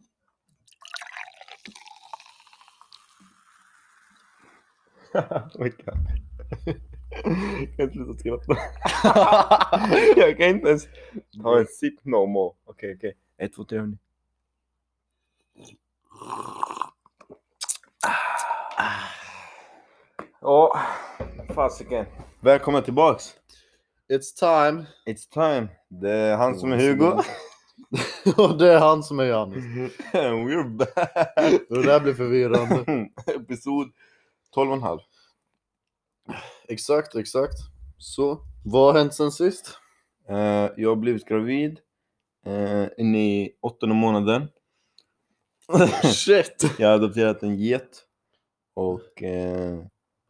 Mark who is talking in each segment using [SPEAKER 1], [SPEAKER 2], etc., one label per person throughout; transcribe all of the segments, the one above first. [SPEAKER 1] Oj, kan. Jag kan inte sluta skratta. Jag kan inte ens ta en sipp no more. Okej, okej. Ett, två, tre. hörni. Ja, Oh, fasiken.
[SPEAKER 2] Välkommen tillbaks!
[SPEAKER 3] It's time.
[SPEAKER 1] It's time. Det är han som är Hugo.
[SPEAKER 3] Och det är han som är Johannes.
[SPEAKER 1] And we're back.
[SPEAKER 3] Det där blir förvirrande.
[SPEAKER 1] Episod.
[SPEAKER 2] 12,5.
[SPEAKER 3] Exakt, exakt. Så, vad har hänt sen sist?
[SPEAKER 1] Eh, jag har blivit gravid. Uh, inne i åttonde månaden.
[SPEAKER 3] Shit!
[SPEAKER 1] Jag har adopterat en get. Och eh,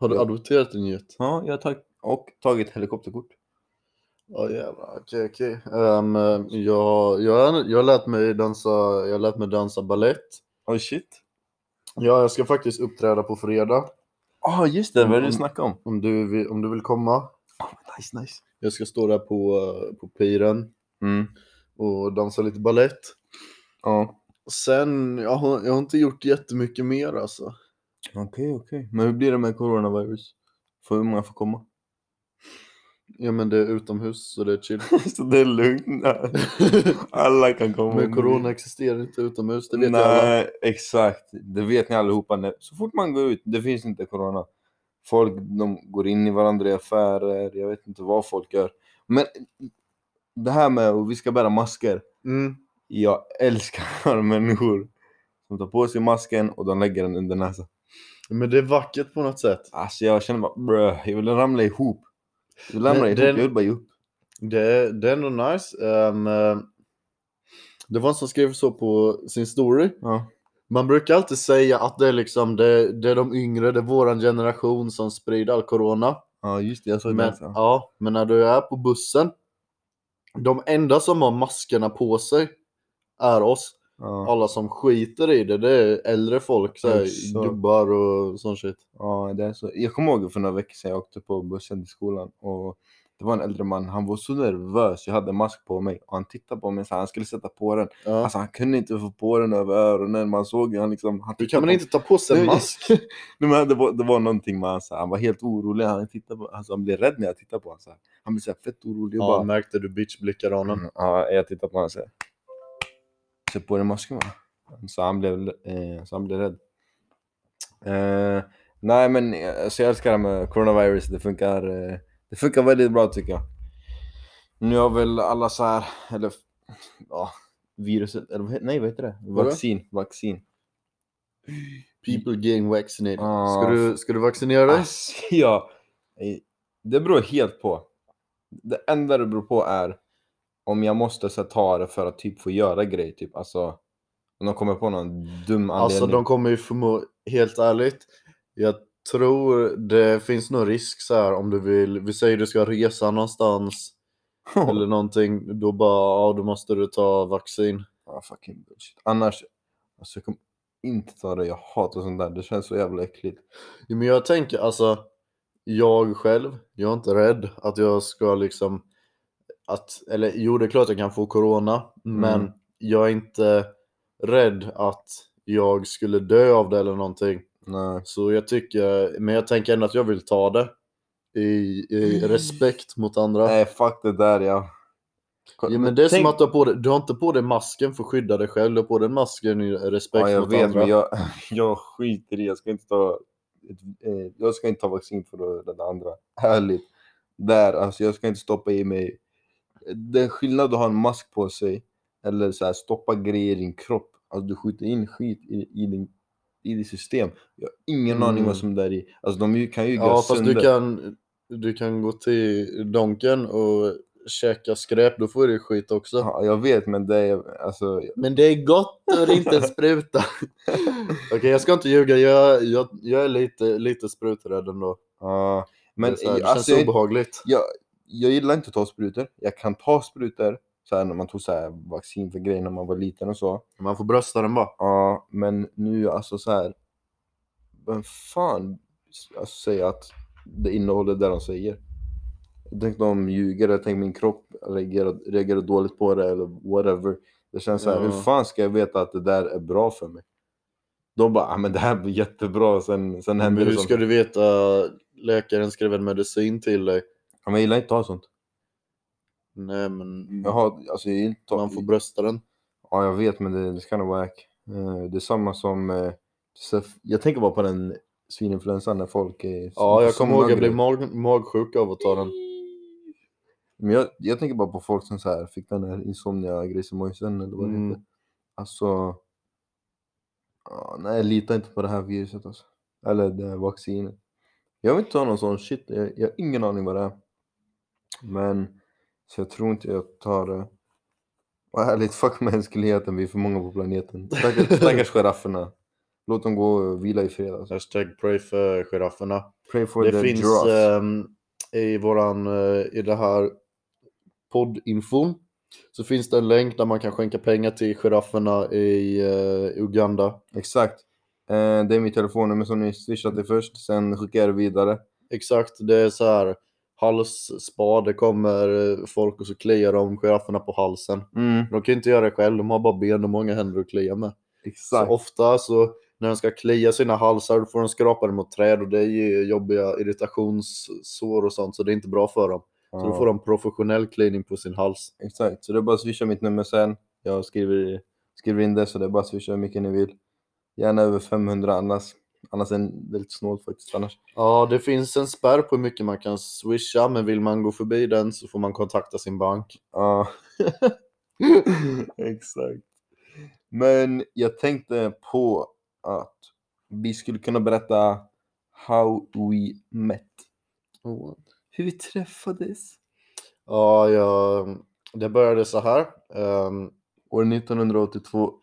[SPEAKER 3] Har du adopterat en get?
[SPEAKER 1] ja, jag har tag- och tagit helikopterkort.
[SPEAKER 3] Ja jävlar, okej okej. Ehm, jag, jag, jag, lät mig dansa, jag lät mig dansa ballett.
[SPEAKER 1] Oh shit.
[SPEAKER 3] Ja, jag ska faktiskt uppträda på fredag.
[SPEAKER 1] Ja, just det. Vad är det du
[SPEAKER 3] Mm.
[SPEAKER 1] snackar om?
[SPEAKER 3] Om du, vill- om du vill komma.
[SPEAKER 1] Nice, nice.
[SPEAKER 3] Jag ska stå där på, eh, på piren
[SPEAKER 1] Mm.
[SPEAKER 3] och dansa lite ballett.
[SPEAKER 1] Ja.
[SPEAKER 3] Sen, jag har, jag har inte gjort jättemycket mer alltså.
[SPEAKER 1] Okej, okej. Men hur blir det med coronavirus? Får hur många får komma?
[SPEAKER 3] Ja men det är utomhus så det är chill.
[SPEAKER 1] Så det är lugnt. Alla kan komma.
[SPEAKER 3] Men corona existerar inte utomhus, det vet
[SPEAKER 1] Nej,
[SPEAKER 3] ju alla.
[SPEAKER 1] exakt. Det vet ni allihopa. när- Så fort man går ut, det finns inte corona. Folk de går in i varandra i affärer, jag vet inte vad folk gör. Men det här med att vi ska bära masker.
[SPEAKER 3] Mm.
[SPEAKER 1] Jag älskar människor som tar på sig masken och de lägger den under näsan.
[SPEAKER 3] Men det är vackert på något sätt.
[SPEAKER 1] Alltså jag känner bara brö, jag vill ramla ihop. Jag vill ramla
[SPEAKER 3] Men
[SPEAKER 1] ihop,
[SPEAKER 3] den-
[SPEAKER 1] jag vill bara ge upp.
[SPEAKER 3] Det, är- det är ändå nice. Ehm, eh, det var en som skrev så på sin story.
[SPEAKER 1] Ja.
[SPEAKER 3] Man brukar alltid säga att det är, liksom, det, det är de yngre, det är våran generation som sprider all corona.
[SPEAKER 1] ja, just det, jag såg
[SPEAKER 3] Men,
[SPEAKER 1] det. också.
[SPEAKER 3] ja, men när du är på bussen, de enda som har maskerna på sig är oss.
[SPEAKER 1] Ja.
[SPEAKER 3] Alla som skiter i det, det är äldre folk, så här,
[SPEAKER 1] Exakt.
[SPEAKER 3] gubbar och sånt shit.
[SPEAKER 1] Ja, det är så. Jag kommer ihåg för några veckor sedan jag åkte på bussen till skolan och det var en äldre man, han var så nervös, jag hade mask på mig och han tittade på mig så här, han skulle sätta på den.
[SPEAKER 3] Ja.
[SPEAKER 1] Alltså han kunde inte få på den över öronen, man såg ju han liksom... Han
[SPEAKER 3] Hur
[SPEAKER 1] tittade
[SPEAKER 3] kan man
[SPEAKER 1] på-
[SPEAKER 3] inte ta på sig en
[SPEAKER 1] Nej.
[SPEAKER 3] mask?
[SPEAKER 1] Nej, men det, var, det var någonting med han, så här, han var helt orolig, han, tittade på, alltså, han blev rädd när jag tittade på honom. Så här. Han blev så här fett orolig. Jag
[SPEAKER 3] Ja,
[SPEAKER 1] bara,
[SPEAKER 3] märkte du bitchblickar honom?
[SPEAKER 1] Mm, Ja, jag tittar på honom såhär. Sätt på dig masken va? Så han blev, eh, så han blev rädd. Eh, nej men eh, så jag älskar det med coronavirus. Det funkar, eh, det funkar väldigt bra tycker jag. Nu har väl alla så här, eller ja, viruset, eller vad he- nej vad heter det?
[SPEAKER 3] Vadå?
[SPEAKER 1] Vaccin, vaccin.
[SPEAKER 3] People getting vaccinated. Ah,
[SPEAKER 1] Ah.
[SPEAKER 3] Ska, du, ska du vaccinera dig?
[SPEAKER 1] Alltså, ja, eh, det beror helt på. Det enda det beror på är om jag måste så här, ta det för att typ få göra grejer. Typ. Alltså, om de kommer på någon dum anledning.
[SPEAKER 3] Alltså de kommer ju förmå, helt ärligt, jag tror det finns någon risk så här om du vill, vi säger du ska resa någonstans eller någonting, då bara, ja då måste du ta vaccin.
[SPEAKER 1] Ah, fucking bullshit. Annars, alltså, jag kommer inte ta det. Jag hatar sånt där. Det känns så jävla äckligt.
[SPEAKER 3] Jo, Men jag tänker alltså, jag själv, jag är inte rädd att jag ska liksom, att, eller jo det är klart jag kan få corona,
[SPEAKER 1] Mm.
[SPEAKER 3] men jag är inte rädd att jag skulle dö av det eller någonting.
[SPEAKER 1] Nej.
[SPEAKER 3] Så jag tycker, men jag tänker ändå att jag vill ta det. I, i
[SPEAKER 1] Mm.
[SPEAKER 3] respekt mot andra.
[SPEAKER 1] Nej, fuck det där. Jag...
[SPEAKER 3] Ja, men det är
[SPEAKER 1] Eh, Tänk-
[SPEAKER 3] som att du har, på dig, du har inte på dig masken för att skydda dig själv, du har på dig masken i respekt
[SPEAKER 1] Ja, jag
[SPEAKER 3] mot
[SPEAKER 1] vet,
[SPEAKER 3] andra.
[SPEAKER 1] men jag, jag skiter i Jag ska inte ta, ett, eh, jag ska inte ta vaccin för att rädda andra. Ärligt. Där, alltså, jag ska inte stoppa i mig. Det är skillnad att ha en mask på sig eller så här, stoppa grejer i din kropp. Alltså, du skjuter in skit i, i, din, i ditt system. Jag har ingen aning
[SPEAKER 3] Mm.
[SPEAKER 1] vad som är där i. Alltså, de ju- kan ju gå
[SPEAKER 3] Ja, fast
[SPEAKER 1] sönder.
[SPEAKER 3] du kan, du kan gå till Donken och käka skräp, då får du skit också.
[SPEAKER 1] Ja, jag vet, men det är alltså.
[SPEAKER 3] Men det är gott och det är inte en spruta. Okej, jag ska inte ljuga, jag, jag, jag är lite, lite spruträdd ändå.
[SPEAKER 1] ja,
[SPEAKER 3] Men,
[SPEAKER 1] men,
[SPEAKER 3] det är så här, det
[SPEAKER 1] alltså,
[SPEAKER 3] känns
[SPEAKER 1] jag-
[SPEAKER 3] obehagligt.
[SPEAKER 1] jag, jag gillar inte att ta sprutor. Jag kan ta sprutor, så här, när man tog så här, vaccin för grejer när man var liten och så.
[SPEAKER 3] Man får brösta den bara.
[SPEAKER 1] Ja, men nu alltså så här. Vem fan alltså, säger att det innehåller det de säger? Tänk de ljuger, eller tänk min kropp reagerar, reagerar dåligt på det eller whatever. Det känns så här,
[SPEAKER 3] Ja.
[SPEAKER 1] hur fan ska jag veta att det där är bra för mig? De bara, ah, men det här blir jättebra, sen, sen
[SPEAKER 3] Men
[SPEAKER 1] händer det
[SPEAKER 3] hur
[SPEAKER 1] sånt.
[SPEAKER 3] ska du veta? Läkaren skrev en medicin till dig.
[SPEAKER 1] Ja, men jag gillar inte att ha sånt.
[SPEAKER 3] Nej, men
[SPEAKER 1] Jag har, alltså jag gillar inte att ha-
[SPEAKER 3] man får brösta den.
[SPEAKER 1] Ja, jag vet, men det, det ska nog vara äck. Eh, Det är samma som... eh, så- Jag tänker bara på den svininfluensan när folk eh, är...
[SPEAKER 3] Ja, jag
[SPEAKER 1] så
[SPEAKER 3] kommer ihåg jag
[SPEAKER 1] hungriga.
[SPEAKER 3] blev mag- magsjuk av att ta den.
[SPEAKER 1] Men jag, jag tänker bara på folk som så här fick den här insomnia grisemojsen eller vad det
[SPEAKER 3] Mm.
[SPEAKER 1] heter. Alltså... ja, nej, lita inte på det här viruset alltså. Eller det här vaccinet. Jag vill inte ha någon sån shit, jag, jag har ingen aning vad det är. Men... Så jag tror inte jag tar det. Vad härligt, fuck mänskligheten, vi är för många på planeten. Stackars, stackars girafferna. Låt dem gå och vila i fred alltså.
[SPEAKER 3] Hashtag pray för girafferna.
[SPEAKER 1] Pray for
[SPEAKER 3] det
[SPEAKER 1] the
[SPEAKER 3] finns
[SPEAKER 1] giraffes.
[SPEAKER 3] ehm, i våran, eh, i det här poddinfon så finns det en länk där man kan skänka pengar till girafferna i eh, Uganda.
[SPEAKER 1] Exakt. Eh, det är mitt telefonnummer som ni swishar till först, sen skickar jag det vidare.
[SPEAKER 3] Exakt, det är så här halsspa, det kommer eh, folk och så kliar de girafferna på halsen.
[SPEAKER 1] Mm,
[SPEAKER 3] De kan ju inte göra det själv, de har bara ben och många händer att klia med. Så
[SPEAKER 1] exakt.
[SPEAKER 3] ofta så när de ska klia sina halsar då får de skrapa dem mot träd och det ger jobbiga irritationssår och sånt så det är inte bra för dem. Så då får de professionell cleaning på sin hals.
[SPEAKER 1] ja, exakt, så det är bara att swisha mitt nummer sen. Jag skriver, skriver in det, så det är bara att swisha hur mycket ni vill. Gärna över 500 annars. Annars är det väldigt snålt faktiskt. Annars.
[SPEAKER 3] Ja, det finns en spärr på hur mycket man kan swisha, men vill man gå förbi den så får man kontakta sin bank.
[SPEAKER 1] Ja. Exakt. Men jag tänkte på att vi skulle kunna berätta how we met. Hur vi träffades.
[SPEAKER 3] Ja, ja, det började så här. Ehm,
[SPEAKER 1] År 1982.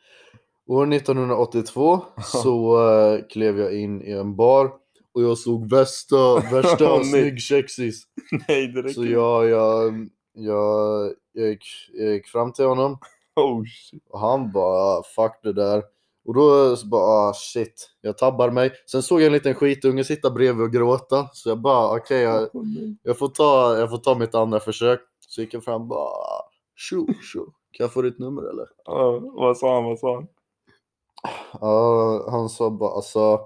[SPEAKER 3] år 1982 så eh, klev jag in i en bar och jag såg värsta, värsta
[SPEAKER 1] Åh, nej.
[SPEAKER 3] snyggkexis.
[SPEAKER 1] Nej, det
[SPEAKER 3] Så jag, jag, jag, jag, gick, jag gick fram till honom
[SPEAKER 1] Oh, shit.
[SPEAKER 3] Och han bara, "Ah, fuck det där. Och då så bara, ah, shit, jag tabbar mig. Sen såg jag en liten skitunge sitta bredvid och gråta. Så jag bara, okej, jag,
[SPEAKER 1] Åh, nej.
[SPEAKER 3] jag, får ta, jag får ta mitt andra försök. Så gick jag fram och bara, tjo, tjo, kan jag få ditt nummer eller?
[SPEAKER 1] Ja, vad sa han? Vad sa han?
[SPEAKER 3] Ja, han sa bara, alltså,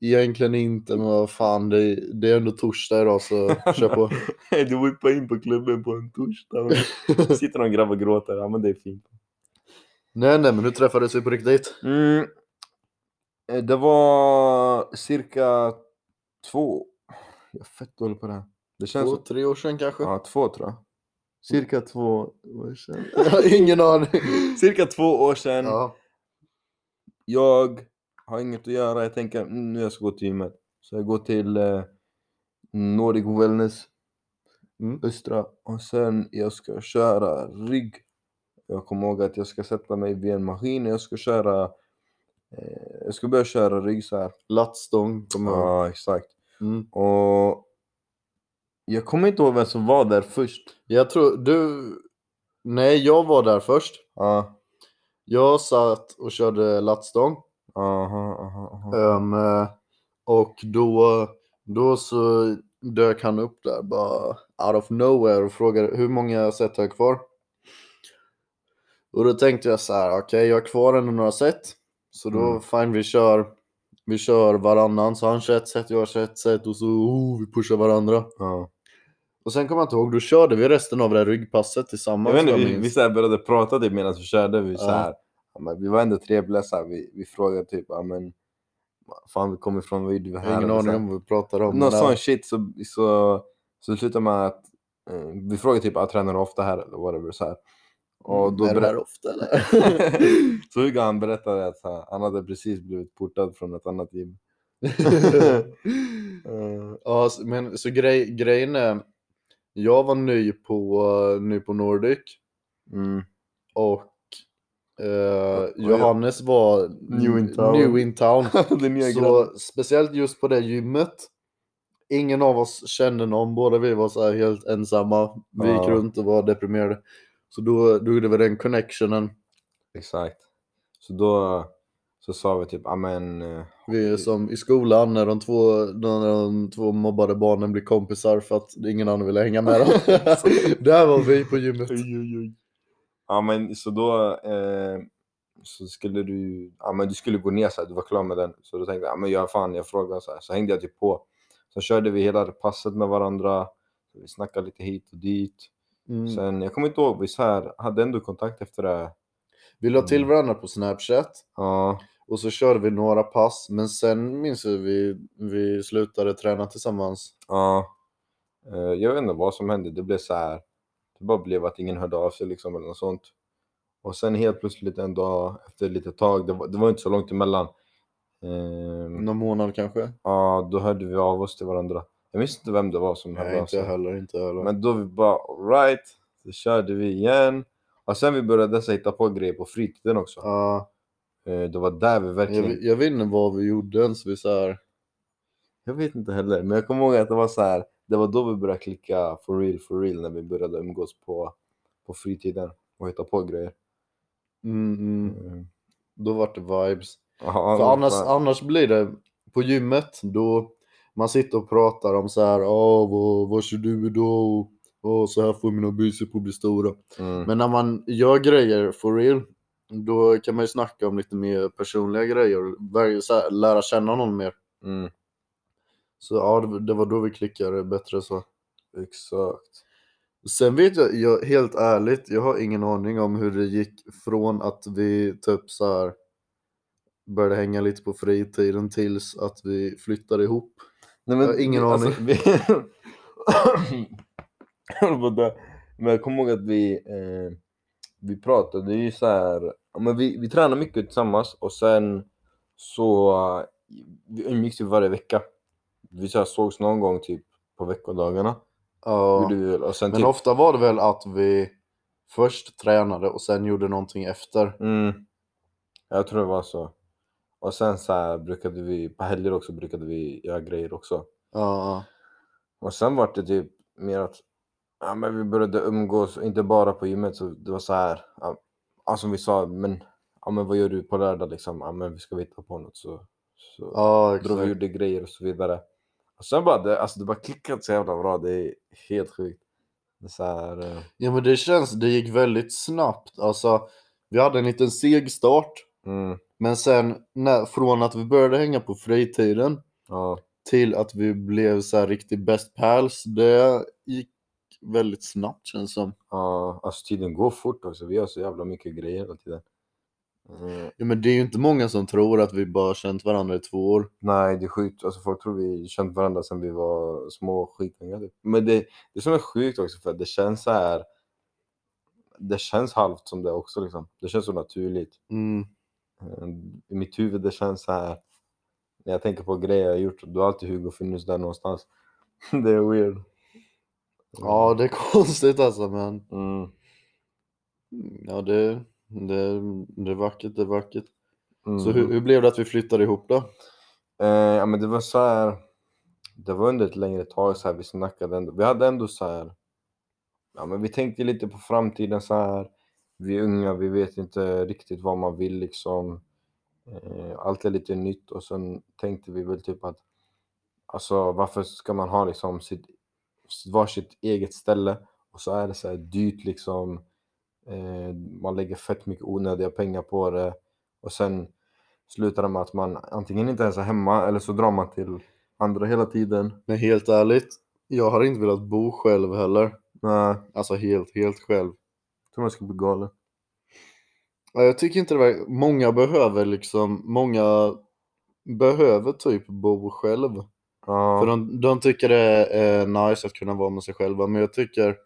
[SPEAKER 3] egentligen inte, men vad fan, det, det är ändå torsdag idag så kör på.
[SPEAKER 1] Du whippade in på klubben på en torsdag. och Sitter någon grabb och gråter. Ja, men det är fint.
[SPEAKER 3] nej, nej, men nu träffades vi på riktigt.
[SPEAKER 1] Mm. Eh, Det var cirka två. Jag är fett dålig på det här. Det känns
[SPEAKER 3] Två,
[SPEAKER 1] som...
[SPEAKER 3] tre år sedan kanske?
[SPEAKER 1] Ja, två tror jag. Cirka två år sedan.
[SPEAKER 3] Jag har ingen aning.
[SPEAKER 1] Cirka två år sedan.
[SPEAKER 3] Ja.
[SPEAKER 1] Jag har inget att göra. Jag tänker mm, nu jag ska gå till gymmet. Så jag går till eh, Nordic Wellness
[SPEAKER 3] Mm.
[SPEAKER 1] Östra. Och sen jag ska köra rygg. Jag kommer ihåg att jag ska sätta mig vid en maskin och jag ska köra... Eh, jag ska börja köra rygg så här.
[SPEAKER 3] Lattstång, kommer jag ihåg.
[SPEAKER 1] Ja, exakt.
[SPEAKER 3] Mm.
[SPEAKER 1] Och... Jag kommer inte ihåg vem som var där först.
[SPEAKER 3] Jag tror du... Nej, jag var där först.
[SPEAKER 1] Ja,
[SPEAKER 3] Jag satt och körde lattstång.
[SPEAKER 1] aha, aha, aha.
[SPEAKER 3] Ehm, eh, och då, då så dök han upp där bara out of nowhere och frågade hur många set har jag kvar? Och då tänkte jag så här, okej jag har kvar ändå några set. Så då
[SPEAKER 1] Mm.
[SPEAKER 3] fine vi kör, vi kör varannan. Så han kör ett set, jag kör ett set och så oh, vi pushar varandra.
[SPEAKER 1] Ja.
[SPEAKER 3] Och sen kommer jag inte ihåg, då körde vi resten av det här ryggpasset tillsammans.
[SPEAKER 1] Jag vet inte,
[SPEAKER 3] vad jag
[SPEAKER 1] vi,
[SPEAKER 3] minns.
[SPEAKER 1] vi så här började prata typ medan vi körde. Vi, så
[SPEAKER 3] Ja.
[SPEAKER 1] här, ja, men vi var ändå trevliga så här. Vi, vi frågade typ, ja men... vad Fan vi kommer ifrån, vad gjorde vi
[SPEAKER 3] Jag
[SPEAKER 1] här?
[SPEAKER 3] har ingen
[SPEAKER 1] Eller så
[SPEAKER 3] aning
[SPEAKER 1] här.
[SPEAKER 3] om vad vi pratar
[SPEAKER 1] någon
[SPEAKER 3] om. men-
[SPEAKER 1] sån shit så, så, så slutar man att eh, vi frågar typ ah, tränar du ofta här eller whatever så här. Och då
[SPEAKER 3] Mm, är det
[SPEAKER 1] berä-
[SPEAKER 3] här ofta eller?
[SPEAKER 1] så Hugo han berättade att så här, han hade precis blivit portad från ett annat gym. Eh,
[SPEAKER 3] ja, s- men så grej, grejen är, jag var ny på, eh, ny på Nordic
[SPEAKER 1] mm.
[SPEAKER 3] och eh,
[SPEAKER 1] jag-
[SPEAKER 3] Johannes var
[SPEAKER 1] New in town.
[SPEAKER 3] new in town.
[SPEAKER 1] Den nya grannen.
[SPEAKER 3] så speciellt just på det gymmet, ingen av oss kände någon, båda vi var så här helt ensamma. Vi gick
[SPEAKER 1] Ja.
[SPEAKER 3] runt och var deprimerade. Så då, då gjorde vi den connectionen.
[SPEAKER 1] Exakt. Så då så sa vi typ, ja men eh,
[SPEAKER 3] Vi är som i skolan när de två, när de två mobbade barnen blir kompisar för att ingen annan vill hänga med dem. Där var vi på gymmet.
[SPEAKER 1] Ja men så då eh, så skulle du, ja men du skulle gå ner så här, du var klar med den. Så då tänkte jag, ja, men jag fan, jag frågar så här. Så hängde jag typ på. Så körde vi hela passet med varandra. Vi snackade lite hit och dit.
[SPEAKER 3] Mm.
[SPEAKER 1] Sen, jag kommer inte ihåg, vi så här, hade ändå kontakt efter det.
[SPEAKER 3] Vi la till varandra på Snapchat
[SPEAKER 1] Ja,
[SPEAKER 3] och så körde vi några pass, men sen minns vi vi, vi slutade träna tillsammans.
[SPEAKER 1] ja. Eh, Jag vet inte vad som hände, det blev så här. Det bara blev att ingen hörde av sig liksom eller något sånt. Och sen helt plötsligt en dag efter ett litet tag, det var, det var inte så långt emellan. Ehm,
[SPEAKER 3] Någon månad kanske?
[SPEAKER 1] Ja, då hörde vi av oss till varandra. Jag minns inte vem det var som hörde
[SPEAKER 3] Nej,
[SPEAKER 1] av
[SPEAKER 3] inte jag
[SPEAKER 1] sig.
[SPEAKER 3] heller. Inte jag heller.
[SPEAKER 1] Men då vi bara alright, så körde vi igen. Och sen vi började så hitta på grejer på fritiden också.
[SPEAKER 3] Ja,
[SPEAKER 1] Eh, Det var där vi verkligen...
[SPEAKER 3] jag, jag vet inte vad vi gjorde ens. Vi så här,
[SPEAKER 1] Jag vet inte heller, men jag kommer ihåg att det var så här. Det var då vi började klicka for real, for real när vi började umgås på, på fritiden och hitta på grejer.
[SPEAKER 3] mm, mm,
[SPEAKER 1] Mm.
[SPEAKER 3] då vart det vibes.
[SPEAKER 1] Ja,
[SPEAKER 3] För
[SPEAKER 1] vad
[SPEAKER 3] annars,
[SPEAKER 1] fan.
[SPEAKER 3] annars blir det på gymmet då man sitter och pratar om så här, "Ja, vad, vad kör du idag? Åh, så här får mina biceps att bli stora.
[SPEAKER 1] Mm.
[SPEAKER 3] Men när man gör grejer for real, då kan man ju snacka om lite mer personliga grejer, Ver- så här, lära känna någon mer.
[SPEAKER 1] Mm.
[SPEAKER 3] Så ja, det, det var då vi klickade bättre så.
[SPEAKER 1] Exakt.
[SPEAKER 3] Sen vet jag, jag, helt ärligt, jag har ingen aning om hur det gick från att vi typ så här började hänga lite på fritiden tills att vi flyttade ihop.
[SPEAKER 1] Nej, men, alltså,
[SPEAKER 3] Jag har ingen
[SPEAKER 1] vi-
[SPEAKER 3] aning.
[SPEAKER 1] vi... Jag håller på att dö. men jag kommer ihåg att vi, eh, vi pratade ju så här, ja, men vi, vi tränade mycket tillsammans och sen så eh, vi umgicks typ varje vecka. Vi så här, sågs någon gång typ på veckodagarna.
[SPEAKER 3] Ja,
[SPEAKER 1] Gjorde vi väl. Och sen
[SPEAKER 3] men
[SPEAKER 1] typ,
[SPEAKER 3] ofta var det väl att vi först tränade och sen gjorde någonting efter.
[SPEAKER 1] mm, jag tror det var så. Och sen så här, brukade vi, på helger också brukade vi göra grejer också.
[SPEAKER 3] Ja,
[SPEAKER 1] Och sen var det typ mer att ja, men vi började umgås, och inte bara på gymmet. Så det var så här, ja, ja, som vi sa, men, ja, men vad gör du på lördag liksom? Ja, men vi ska hitta på något. Så, så
[SPEAKER 3] ja
[SPEAKER 1] drog vi och
[SPEAKER 3] exakt.
[SPEAKER 1] gjorde grejer och så vidare. Och sen bara, det, alltså det bara klickade så jävla bra. Det är helt sjukt. Det är så här, eh,
[SPEAKER 3] Ja men det känns, det gick väldigt snabbt. Alltså, vi hade en liten seg start.
[SPEAKER 1] mm,
[SPEAKER 3] Men sen när, från att vi började hänga på fritiden
[SPEAKER 1] ja,
[SPEAKER 3] till att vi blev så här riktigt best pals, det gick väldigt snabbt känns som.
[SPEAKER 1] ja, alltså tiden går fort också. Vi gör så jävla mycket grejer hela tiden. Mm,
[SPEAKER 3] Ja, men det är ju inte många som tror att vi bara känt varandra i två år.
[SPEAKER 1] Nej, det är sjukt. Alltså, folk tror vi känt varandra sedan vi var små skitungar. Typ. Men det, det som är sjukt också, för att det känns så här... Det känns halvt som det också. Liksom. Det känns så naturligt.
[SPEAKER 3] Mm.
[SPEAKER 1] Eh, I mitt huvud det känns så här... När jag tänker på grejer jag har gjort, då har alltid Hugo funnits där någonstans. det är weird.
[SPEAKER 3] Ja, det är konstigt alltså men
[SPEAKER 1] Mm.
[SPEAKER 3] ja, det, det, det är vackert, det är vackert.
[SPEAKER 1] Mm.
[SPEAKER 3] Så hur, hur blev det att vi flyttade ihop då?
[SPEAKER 1] Eh, ja, men det var så här. Det var under ett längre tag så här, vi snackade ändå. Vi hade ändå så här. Ja, men vi tänkte lite på framtiden så här. Vi är unga, vi vet inte riktigt vad man vill liksom. Eh, allt är lite nytt och sen tänkte vi väl typ att alltså varför ska man ha liksom sitt varsitt eget ställe och så är det så här dyrt liksom. Eh, man lägger fett mycket onödiga pengar på det och sen slutar det med att man antingen inte ens är hemma eller så drar man till andra hela tiden.
[SPEAKER 3] Men helt ärligt, jag har inte velat bo själv heller.
[SPEAKER 1] Nej, jag
[SPEAKER 3] Alltså helt, helt själv.
[SPEAKER 1] tror man ska bli galen.
[SPEAKER 3] Ja, Jag tycker inte det var... Många behöver liksom, många behöver typ bo själv.
[SPEAKER 1] Ja,
[SPEAKER 3] För de, de tycker det är eh, nice att kunna vara med sig själva, men jag tycker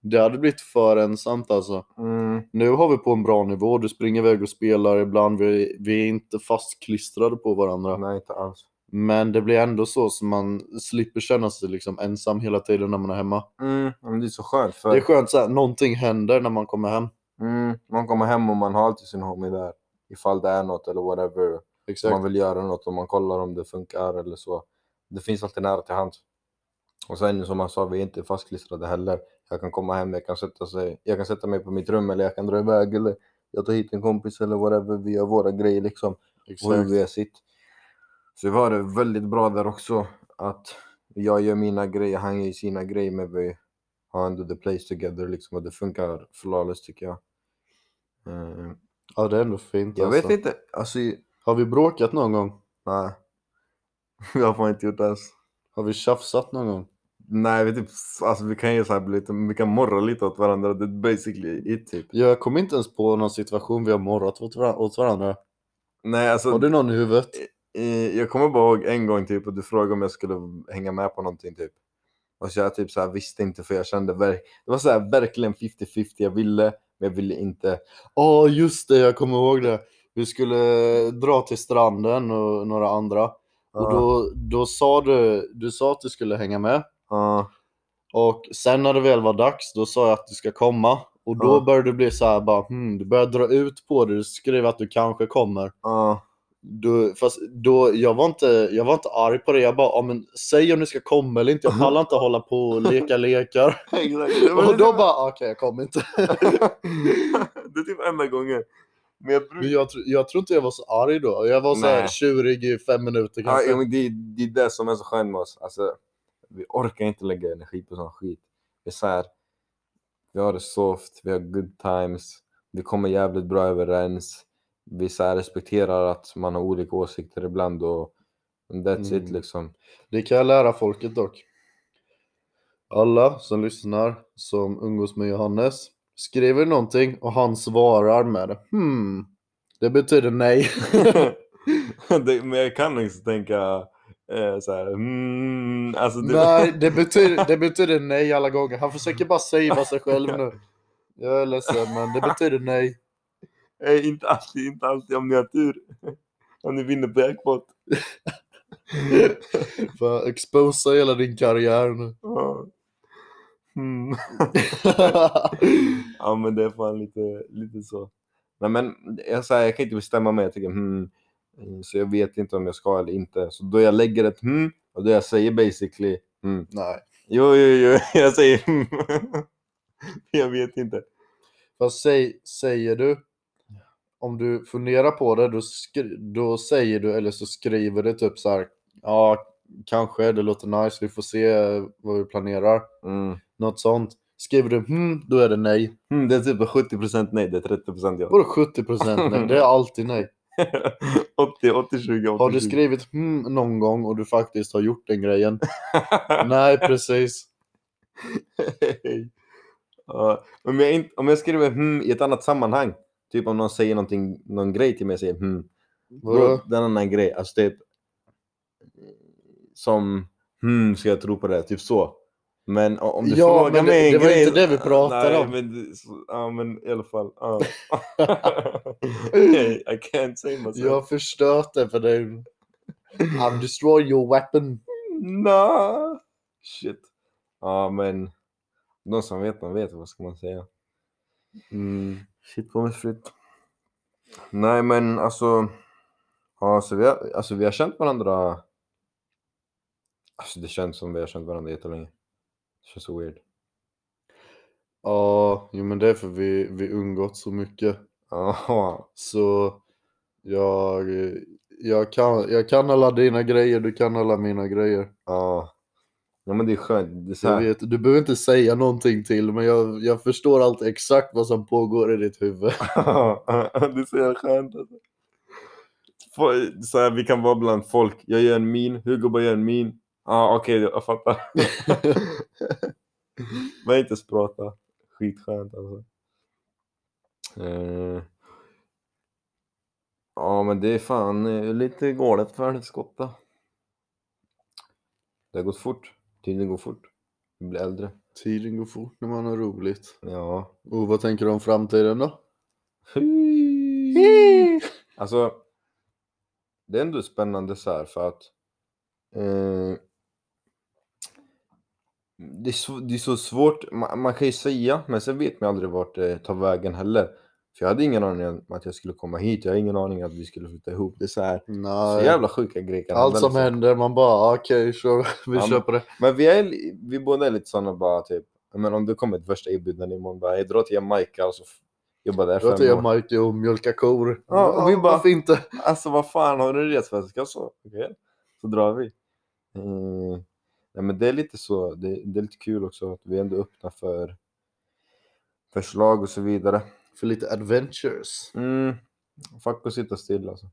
[SPEAKER 3] det hade blivit för ensamt alltså.
[SPEAKER 1] mm,
[SPEAKER 3] Nu har vi på en bra nivå, du springer iväg och spelar ibland, vi, vi är inte fastklistrade på varandra.
[SPEAKER 1] nej inte alls.
[SPEAKER 3] Men det blir ändå så som man slipper känna sig liksom ensam hela tiden när man är hemma.
[SPEAKER 1] Mm, men det är så skönt för
[SPEAKER 3] Det är skönt såhär, någonting händer när man kommer hem.
[SPEAKER 1] mm, man kommer hem och man har alltid sin homie där. Ifall det är något eller whatever.
[SPEAKER 3] Exakt.
[SPEAKER 1] Man vill göra något och man kollar om det funkar eller så. Det finns alltid nära till hands. Och sen som man sa, vi är inte fastklistrade heller. Jag kan komma hem, jag kan sätta, sig, jag kan sätta mig på mitt rum eller jag kan dra iväg eller jag tar hit en kompis eller whatever. Vi gör våra grejer liksom. och
[SPEAKER 3] Exakt.
[SPEAKER 1] hur vi är sitt. Så var det väldigt bra där också att jag gör mina grejer, han gör sina grejer men vi har ändå the place together liksom och det funkar flawless tycker jag. Eh,
[SPEAKER 3] Ja, det är ändå fint
[SPEAKER 1] Jag
[SPEAKER 3] alltså.
[SPEAKER 1] vet inte. Alltså, i-
[SPEAKER 3] Har vi bråkat någon gång?
[SPEAKER 1] nej. Vi har fan inte gjort det alls.
[SPEAKER 3] Har vi tjafsat någon gång?
[SPEAKER 1] Nej, vi, typ, alltså, vi kan ju så här bli lite, vi kan morra lite åt varandra. Det är basically it typ.
[SPEAKER 3] Jag kommer inte ens på någon situation vi har morrat åt, varan- åt varandra.
[SPEAKER 1] Nej, alltså.
[SPEAKER 3] Har du någon i huvudet?
[SPEAKER 1] Eh, Jag kommer bara ihåg en gång typ och du frågade om jag skulle hänga med på någonting typ. Och så jag typ så här visste inte för jag kände verk- det var så här verkligen 50-50 jag ville men jag ville inte.
[SPEAKER 3] Ja, just det, jag kommer ihåg det. Vi skulle dra till stranden och några andra. Och då, då sa du, du sa att du skulle hänga med.
[SPEAKER 1] Ja,
[SPEAKER 3] Och sen när det väl var dags, då sa jag att du ska komma. Och då
[SPEAKER 1] Ja.
[SPEAKER 3] började du bli så här bara, hmm, du började dra ut på det, du skrev att du kanske kommer.
[SPEAKER 1] ja,
[SPEAKER 3] Du, fast då, jag, var inte, jag var inte arg på det, jag bara, ja, men säg om du ska komma eller inte, jag pallar inte hålla på och leka lekar.
[SPEAKER 1] ja. Exakt, det var Mm.
[SPEAKER 3] Och
[SPEAKER 1] det
[SPEAKER 3] då
[SPEAKER 1] typ-
[SPEAKER 3] bara, okej jag kommer inte.
[SPEAKER 1] det är typ enda gången. Men jag brukar...
[SPEAKER 3] Men jag, tr- jag tror inte jag var så arg då. Jag var så här
[SPEAKER 1] Nej.
[SPEAKER 3] tjurig i fem minuter
[SPEAKER 1] Ja,
[SPEAKER 3] kanske.
[SPEAKER 1] ja, men det, är- det är det som är så skönt med oss. Alltså, vi orkar inte lägga energi på sån skit. Det är så här, vi har det soft, vi har good times, vi kommer jävligt bra överens. Vi så här respekterar att man har olika åsikter ibland och and that's it
[SPEAKER 3] Mm.
[SPEAKER 1] liksom.
[SPEAKER 3] Det kan jag lära folket dock. Alla som lyssnar, som umgås med Johannes, skriver någonting och han svarar med det. Hmm. Det betyder nej.
[SPEAKER 1] det, men jag kan inte tänka eh, så här, mm, alltså det,
[SPEAKER 3] nej, det betyder, det betyder nej alla gånger. Han försöker bara savea sig själv nu. Jag är ledsen, men det betyder nej.
[SPEAKER 1] Eh, inte alltid, inte alltid om ni har tur. om ni vinner på jackpot.
[SPEAKER 3] För exposa hela din karriär nu.
[SPEAKER 1] Ja. Mm. Ja men det är fan lite, lite så. Nej men jag, så här, jag kan inte bestämma mig, jag tycker hmm, mm, så jag vet inte om jag ska eller inte. Så då jag lägger ett hmm och då jag säger basically hmm.
[SPEAKER 3] nej.
[SPEAKER 1] Jo, jo, jo, jag säger hmm. jag vet inte.
[SPEAKER 3] Vad säg, säger du? Om du funderar på det, då, skri- då säger du eller så skriver du typ så här. Ja, kanske, det låter nice, vi får se eh, vad vi planerar.
[SPEAKER 1] Mm.
[SPEAKER 3] Något sånt. Skriver du hm, då är det nej.
[SPEAKER 1] Mm, det är typ 70% nej, det är 30% ja.
[SPEAKER 3] Vadå 70% nej? Det är alltid nej.
[SPEAKER 1] 80, 80, 20, 80,
[SPEAKER 3] Har du skrivit hm någon gång och du faktiskt har gjort den grejen? nej, precis.
[SPEAKER 1] Ja, om, jag inte, om jag skriver hmm i ett annat sammanhang, typ om någon säger någonting, någon grej till mig, jag säger hmm. Bro,
[SPEAKER 3] Vadå?
[SPEAKER 1] det är en annan grej. Alltså typ... Som... Hmm, ska jag tro på det? Typ så. Men o- om du
[SPEAKER 3] Ja,
[SPEAKER 1] frågar
[SPEAKER 3] men det-
[SPEAKER 1] mig en
[SPEAKER 3] det var
[SPEAKER 1] grej...
[SPEAKER 3] inte det vi pratade
[SPEAKER 1] nej,
[SPEAKER 3] om.
[SPEAKER 1] Men, det- så- ja, men i alla fall. Ja. I can't say myself.
[SPEAKER 3] Jag har förstört det för dig. I'm destroy your weapon.
[SPEAKER 1] Nå. Shit. Ja, men... De som vet, de vet. Vad ska man säga? Shit på mig fritt. Nej, men alltså... Ja, så vi, har, alltså vi har känt varandra... Alltså det känns som vi har känt varandra jättelänge. Det känns så weird.
[SPEAKER 3] Ja, jo, men det är för vi, vi umgåtts så mycket.
[SPEAKER 1] Ja,
[SPEAKER 3] Så jag, jag, kan, jag kan alla dina grejer, du kan alla mina grejer.
[SPEAKER 1] ja. Ja men det är skönt. Det är så
[SPEAKER 3] Jag
[SPEAKER 1] här.
[SPEAKER 3] vet, du behöver inte säga någonting till, men jag, jag förstår allt exakt vad som pågår i ditt huvud.
[SPEAKER 1] det är så jävla skönt alltså. Få- Så här, vi kan vara bland folk. Jag gör en min, Hugo bara gör en min. Ja ah, okej, jag fattar. Men inte sprata. Skitskönt alltså. Eh. Ja men det är fan eh, lite galet för helskotta. Det har gått fort. Tiden går fort. Vi blir äldre.
[SPEAKER 3] Tiden går fort när man har roligt.
[SPEAKER 1] Ja.
[SPEAKER 3] Och vad tänker du om framtiden då?
[SPEAKER 1] Alltså, det är ändå spännande så här för att eh, det, är så, det är så svårt, man, man kan ju säga, men sen vet man aldrig vart det tar vägen heller. För jag hade ingen aning om att jag skulle komma hit, jag hade ingen aning att vi skulle flytta ihop. Det är så här, så
[SPEAKER 3] Nej.
[SPEAKER 1] jävla sjuka grejer kan
[SPEAKER 3] Allt
[SPEAKER 1] hända,
[SPEAKER 3] som
[SPEAKER 1] liksom.
[SPEAKER 3] händer, man bara "Ah, okej, kör, vi
[SPEAKER 1] Ja, men-
[SPEAKER 3] kör på det.
[SPEAKER 1] Men vi, är, li- vi båda är lite såna bara typ, men om det kommer ett värsta erbjudande imorgon, bara, jag drar till Jamaica och så f- jobbar där
[SPEAKER 3] Då tar
[SPEAKER 1] fem år.
[SPEAKER 3] jag Mike och mjölkar kor.
[SPEAKER 1] Ja, och vi bara-
[SPEAKER 3] varför inte?
[SPEAKER 1] Alltså vad fan, har du en resväska så? Okej, så drar vi. Mm. Nej, men det är lite så, det, det är lite kul också att vi ändå öppnar för förslag och så vidare.
[SPEAKER 3] för lite adventures.
[SPEAKER 1] Mm. Fuck att sitta still alltså.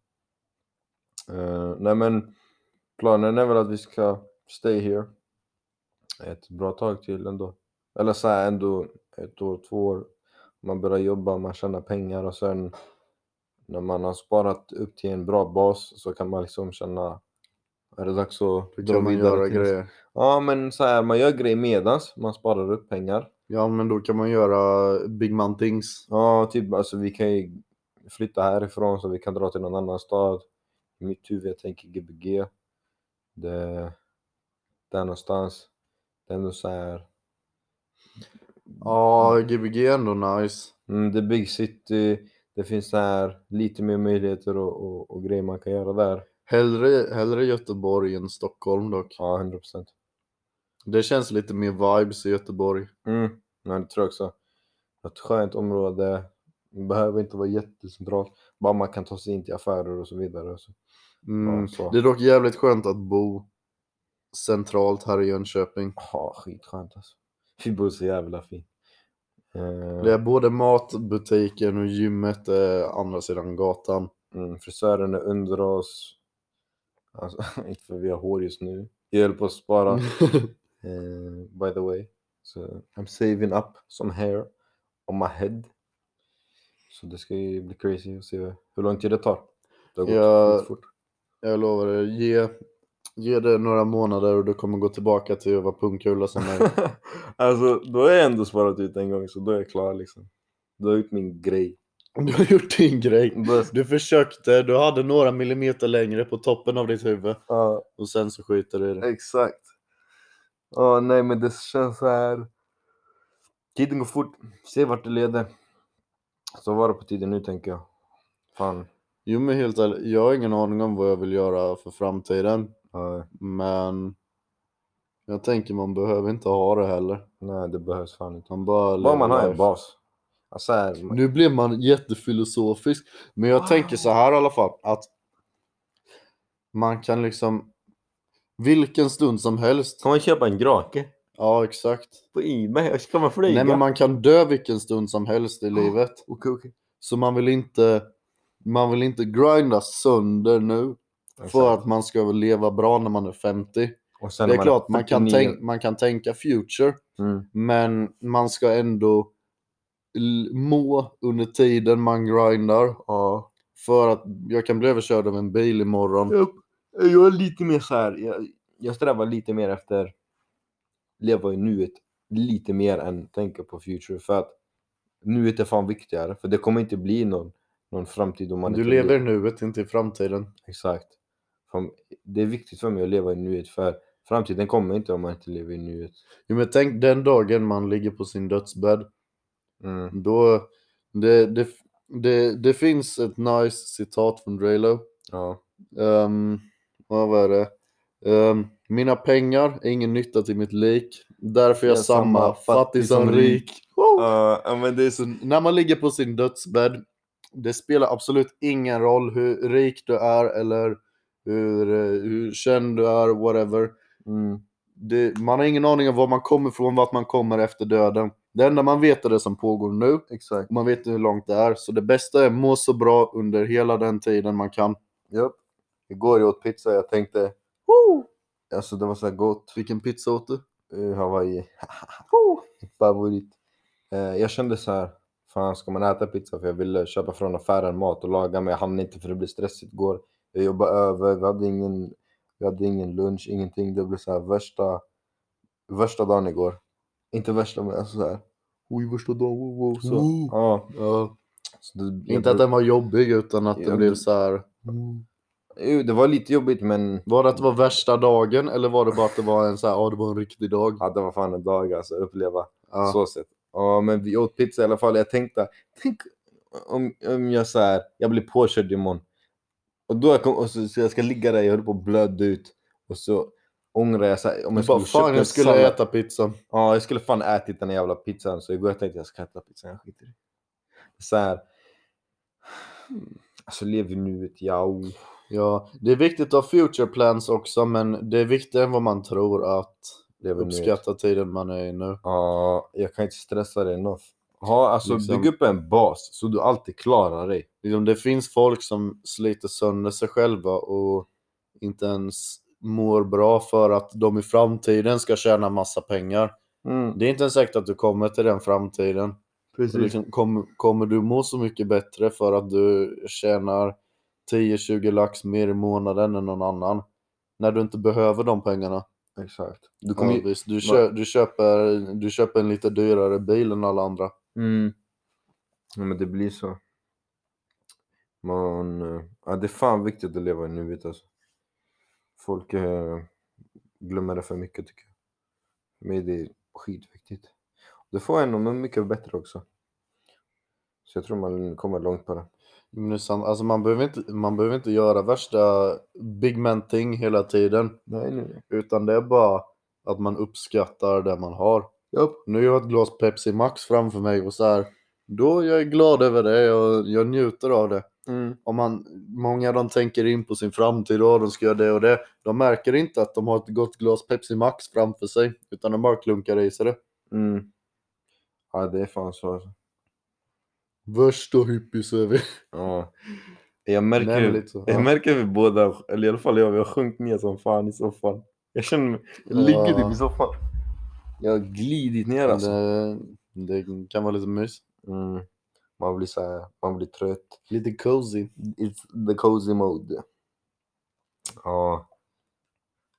[SPEAKER 1] Eh, nej men planen är väl att vi ska stay here ett bra tag till ändå. Eller så här ändå ett år, två år. Man börjar jobba, man tjänar pengar och sen när man har sparat upp till en bra bas så kan man liksom känna är det dags att
[SPEAKER 3] Då
[SPEAKER 1] dra
[SPEAKER 3] kan man
[SPEAKER 1] vidare
[SPEAKER 3] göra
[SPEAKER 1] till-
[SPEAKER 3] grejer.
[SPEAKER 1] Ja men så här, man gör grejer medans man sparar upp pengar.
[SPEAKER 3] Ja, men då kan man göra big man things.
[SPEAKER 1] Ja, typ alltså vi kan ju flytta härifrån så vi kan dra till någon annan stad. I mitt huvud jag tänker Gbg. Det, där någonstans. Det är ändå så här.
[SPEAKER 3] Ja, Gbg är ändå nice.
[SPEAKER 1] Mm, det är big city. Det finns så här lite mer möjligheter och, och, och grejer man kan göra där.
[SPEAKER 3] Hellre, hellre Göteborg än Stockholm dock.
[SPEAKER 1] Ja, 100 procent.
[SPEAKER 3] Det känns lite mer vibes i Göteborg.
[SPEAKER 1] Mm, men det tror jag också. Ett skönt område. Det behöver inte vara jättecentralt. Bara man kan ta sig in till affärer och så vidare. Och så.
[SPEAKER 3] Mm.
[SPEAKER 1] Ja, så.
[SPEAKER 3] Det är dock jävligt skönt att bo centralt här i Jönköping.
[SPEAKER 1] Ja, skitskönt alltså. Vi bor så jävla fint. Eh,
[SPEAKER 3] Det är både matbutiken och gymmet är andra sidan gatan.
[SPEAKER 1] mm, frisören är under oss. Alltså, inte för vi har hår just nu. Jag höll på att spara,
[SPEAKER 3] Mm.
[SPEAKER 1] eh, by the way. Så I'm saving up some hair on my head. Så det ska ju bli crazy att se hur lång tid det tar. Det har gått
[SPEAKER 3] Ja.
[SPEAKER 1] fort.
[SPEAKER 3] Jag lovar dig, ge, ge det några månader och du kommer gå tillbaka till att vara punkkula som mig.
[SPEAKER 1] alltså, då har jag ändå sparat ut en gång, så då är jag klar liksom. Då har jag gjort min grej.
[SPEAKER 3] Du har gjort din grej.
[SPEAKER 1] Då-
[SPEAKER 3] Du försökte, du hade några millimeter längre på toppen av ditt huvud
[SPEAKER 1] ja.
[SPEAKER 3] och sen så skiter du i det.
[SPEAKER 1] Exakt. Ja, nej men det känns så här. Tiden går fort, se vart det leder. Så var det på tiden nu tänker jag. Fan.
[SPEAKER 3] Jo men helt ärligt, jag har ingen aning om vad jag vill göra för framtiden.
[SPEAKER 1] ja,
[SPEAKER 3] Men jag tänker man behöver inte ha det heller.
[SPEAKER 1] nej det behövs fan inte.
[SPEAKER 3] Man bara
[SPEAKER 1] Bara
[SPEAKER 3] lever
[SPEAKER 1] man har en
[SPEAKER 3] life.
[SPEAKER 1] bas. Alltså här,
[SPEAKER 3] Nu blir man jättefilosofisk. Men jag tänker så här i alla fall att man kan liksom vilken stund som helst.
[SPEAKER 1] Kan man köpa en grake
[SPEAKER 3] Ja exakt.
[SPEAKER 1] på Ebay? Ska man flyga?
[SPEAKER 3] Nej men man kan dö vilken stund som helst i livet.
[SPEAKER 1] Ah, Okej okej.
[SPEAKER 3] Så man vill inte man vill inte grinda sönder nu för
[SPEAKER 1] Exakt.
[SPEAKER 3] att man ska leva bra när man är 50.
[SPEAKER 1] Och sen
[SPEAKER 3] det
[SPEAKER 1] när
[SPEAKER 3] är klart man kan,
[SPEAKER 1] 49
[SPEAKER 3] tänk, man kan tänka future
[SPEAKER 1] Mm.
[SPEAKER 3] men man ska ändå l- må under tiden man grindar.
[SPEAKER 1] Ja.
[SPEAKER 3] För att jag kan bli överkörd av en bil imorgon.
[SPEAKER 1] Jag, jag är lite mer så här. Jag, jag strävar lite mer efter leva i nuet lite mer än tänka på future. För att nuet är fan viktigare. För det kommer inte bli någon, någon framtid om man
[SPEAKER 3] Du
[SPEAKER 1] inte
[SPEAKER 3] lever i nuet, inte i framtiden.
[SPEAKER 1] Exakt. Fan, Det är viktigt för mig att leva i nuet. För framtiden kommer inte om man inte lever i nuet.
[SPEAKER 3] Jo, men tänk den dagen man ligger på sin dödsbädd.
[SPEAKER 1] Mm.
[SPEAKER 3] Då, det, det, det, det finns ett nice citat från Drelo.
[SPEAKER 1] Ja.
[SPEAKER 3] Um, vad är det? Ehm, mina pengar är ingen nytta till mitt lik. Därför är jag,
[SPEAKER 1] Jag är
[SPEAKER 3] samma, fattig som rik. Wow.
[SPEAKER 1] men det är
[SPEAKER 3] Så när man ligger på sin dödsbädd, det spelar absolut ingen roll hur rik du är eller hur, eh, hur känd du är, whatever.
[SPEAKER 1] Mm.
[SPEAKER 3] Det, man har ingen aning om var man kommer ifrån, vart man kommer efter döden. Det enda man vet är det som pågår nu,
[SPEAKER 1] Exakt.
[SPEAKER 3] och man vet hur långt det är. Så det bästa är att må så bra under hela den tiden man kan.
[SPEAKER 1] Japp. Igår jag åt pizza jag tänkte... Alltså det var så här gott.
[SPEAKER 3] Vilken pizza åt du?
[SPEAKER 1] eh, Hawaii. Favorit. Eh, jag kände så här, fan ska man äta pizza? För jag ville köpa från affären mat och laga, men jag hann inte för det blev stressigt igår. Jag jobbade över, vi hade ingen, vi hade ingen lunch, ingenting. Det blev så här värsta, värsta dagen igår. Inte värsta, men alltså så här.
[SPEAKER 3] Oj, värsta dagen, wow, wow,
[SPEAKER 1] Så, ja, så det,
[SPEAKER 3] Inte att den var jobbig, utan att det
[SPEAKER 1] Ja,
[SPEAKER 3] blev
[SPEAKER 1] det- Mm.
[SPEAKER 3] så här.
[SPEAKER 1] Jo, det var lite jobbigt, men
[SPEAKER 3] Var det att det var värsta dagen, eller var det bara att det var en så här, ja, det var en riktig dag?
[SPEAKER 1] ja, det var fan en dag alltså, att uppleva.
[SPEAKER 3] Ja.
[SPEAKER 1] Så sett. Ja, men vi åt pizza i alla fall. Jag tänkte, tänk om, om jag så här, jag blir påkörd imorgon. Och då jag kom, och så, så jag ska ligga där, jag höll på att blöda ut. Och så ångrar jag så här, om
[SPEAKER 3] Men
[SPEAKER 1] jag
[SPEAKER 3] bara,
[SPEAKER 1] skulle köpt
[SPEAKER 3] fan
[SPEAKER 1] en
[SPEAKER 3] jag skulle
[SPEAKER 1] sallad.
[SPEAKER 3] äta pizza.
[SPEAKER 1] Ja, jag skulle fan ätit den jävla pizzan. Så igår jag tänkte jag ska äta pizzan, jag skiter i det. Så här. Alltså lev i nuet, ja.
[SPEAKER 3] Ja, det är viktigt att ha future plans också, men det är viktigare än vad man tror att
[SPEAKER 1] Lev i nuet.
[SPEAKER 3] uppskatta tiden man är i nu.
[SPEAKER 1] Ja, jag kan inte stressa det enough. Ja, alltså
[SPEAKER 3] Liksom.
[SPEAKER 1] bygg upp en bas så du alltid klarar dig.
[SPEAKER 3] Liksom, det finns folk som sliter sönder sig själva och inte ens mår bra för att de i framtiden ska tjäna massa pengar. Det är inte ens säkert att du kommer till den framtiden. Så
[SPEAKER 1] Precis.
[SPEAKER 3] liksom, kom, kommer du må så mycket bättre för att du tjänar 10-20 lax mer i månaden än någon annan? När du inte behöver de pengarna.
[SPEAKER 1] Exakt.
[SPEAKER 3] Du,
[SPEAKER 1] kommer
[SPEAKER 3] ja,
[SPEAKER 1] ju-
[SPEAKER 3] visst, du, kö, du, köper, du köper en lite dyrare bil än alla andra.
[SPEAKER 1] Mm. Ja, men det blir så. Man, eh, ja, det är fan viktigt att leva i nuet alltså. Folk eh, glömmer det för mycket tycker jag. För mig är det skitviktigt. Det får en att må mycket bättre också. Så jag tror man kommer långt på det.
[SPEAKER 3] Men det är sant. Alltså man, behöver inte, man behöver inte göra värsta big man thing hela tiden.
[SPEAKER 1] Nej, nej.
[SPEAKER 3] Utan det är bara att man uppskattar det man har. Nu har jag ett glas Pepsi Max framför mig och så här. Då är jag glad över det och jag njuter av det.
[SPEAKER 1] Mm.
[SPEAKER 3] Om man, många de tänker in på sin framtid och de ska göra det och det. De märker inte att de har ett gott glas Pepsi Max framför sig. Utan de bara klunkar i sig det.
[SPEAKER 1] Mm. Ja, det är fan så alltså.
[SPEAKER 3] Värsta hippies är vi.
[SPEAKER 1] Ja. Jag märker
[SPEAKER 3] Nej, men
[SPEAKER 1] ju-
[SPEAKER 3] lite så.
[SPEAKER 1] Jag
[SPEAKER 3] Ja.
[SPEAKER 1] märker vi båda, eller i alla fall jag, vi har sjunkit ner som fan i soffan. Jag känner mig, jag ligger
[SPEAKER 3] Ja.
[SPEAKER 1] typ i soffan. Jag har glidit ner alltså.
[SPEAKER 3] Det, det kan vara lite mys.
[SPEAKER 1] Mm. Man blir så här, man blir trött.
[SPEAKER 3] Lite cozy.
[SPEAKER 1] It's the cozy mode. Ja.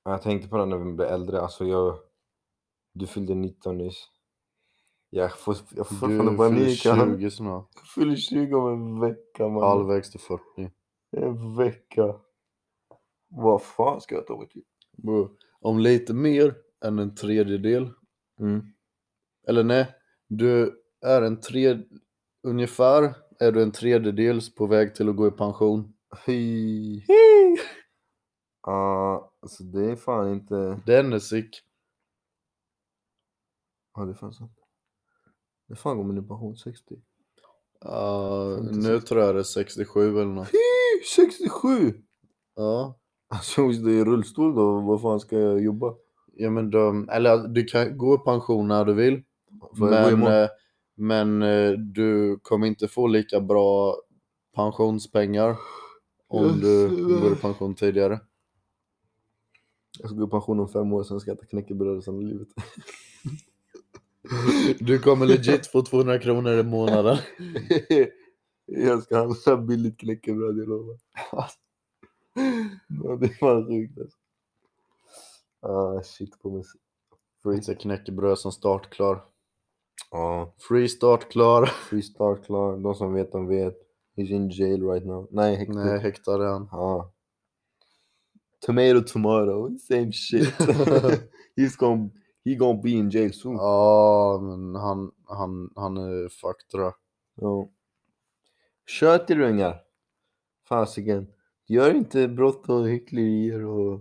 [SPEAKER 1] Ja, Jag tänkte på det när vi blev äldre, alltså jag... Du fyllde 19 nyss. Jag får, jag får fortfarande
[SPEAKER 3] Du fyller
[SPEAKER 1] panik. Jag
[SPEAKER 3] 20 snart.
[SPEAKER 1] fyller 20 om en vecka man.
[SPEAKER 3] Halvvägs till 40.
[SPEAKER 1] En vecka. Vad fan ska jag ta mig till?
[SPEAKER 3] Bro, om lite mer än en tredjedel.
[SPEAKER 1] Mm.
[SPEAKER 3] Eller nej, du är en tre... Ungefär är du en tredjedels på väg till att gå i pension.
[SPEAKER 1] Hej. Ja, alltså det är fan inte...
[SPEAKER 3] Den är sick.
[SPEAKER 1] Ja, det är fan sant. När fan går min i pension? 60?
[SPEAKER 3] Ja,
[SPEAKER 1] Inte
[SPEAKER 3] nu tror jag det är 67 eller något.
[SPEAKER 1] Fy, 67!
[SPEAKER 3] Ja.
[SPEAKER 1] Alltså om jag sitter i rullstol då, vad fan ska jag jobba?
[SPEAKER 3] ja men de, eller du kan gå i pension när du vill.
[SPEAKER 1] Får jag gå
[SPEAKER 3] Men,
[SPEAKER 1] imorgon?
[SPEAKER 3] eh, men eh, du kommer inte få lika bra pensionspengar om du
[SPEAKER 1] Jösses.
[SPEAKER 3] går i pension tidigare.
[SPEAKER 1] Jag ska gå i pension om fem år, sen ska jag äta knäckebröd resten av livet.
[SPEAKER 3] Du kommer legit få 200 kronor i månaden.
[SPEAKER 1] jag ska handla billigt knäckebröd, jag lovar. ja, det är fan sjukt alltså. Ah, shit på mig.
[SPEAKER 3] Lite knäckebröd som startklar.
[SPEAKER 1] Ja.
[SPEAKER 3] Free startklar.
[SPEAKER 1] Freestar klar, de som vet de vet. He's in jail right now. Nej, häktet.
[SPEAKER 3] Nej, häktade han.
[SPEAKER 1] Ja. Tomato, tomato, same shit. He's gonna, he gonna be in jail soon. Ja.
[SPEAKER 3] Ja, men han, han, han är fucked tror jag.
[SPEAKER 1] Kör till ungar. Fasiken. Gör inte brott och hycklerier och,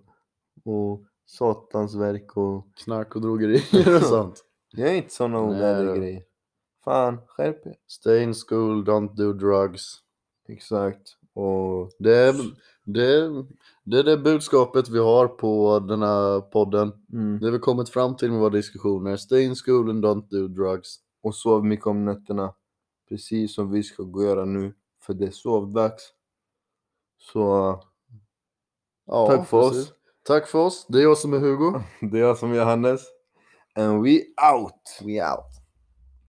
[SPEAKER 1] och satans verk och...
[SPEAKER 3] Knark och drogerier och sånt.
[SPEAKER 1] Gör inte såna
[SPEAKER 3] Nej,
[SPEAKER 1] onödiga
[SPEAKER 3] då.
[SPEAKER 1] grejer. Fan, skärp er.
[SPEAKER 3] Stay in school, don't do drugs.
[SPEAKER 1] Exakt. Och...
[SPEAKER 3] Det är det, det, är det budskapet vi har på den här podden.
[SPEAKER 1] Mm.
[SPEAKER 3] Det har vi kommit fram till med våra diskussioner. Stay in school and don't do drugs.
[SPEAKER 1] och sov mycket om nätterna. Precis som vi ska gå och göra nu, för det är sovdags. Så
[SPEAKER 3] Ja,
[SPEAKER 1] tack för
[SPEAKER 3] precis.
[SPEAKER 1] oss.
[SPEAKER 3] Tack för oss. Det är jag som är Hugo.
[SPEAKER 1] Det är jag som är Johannes. And we out! We out.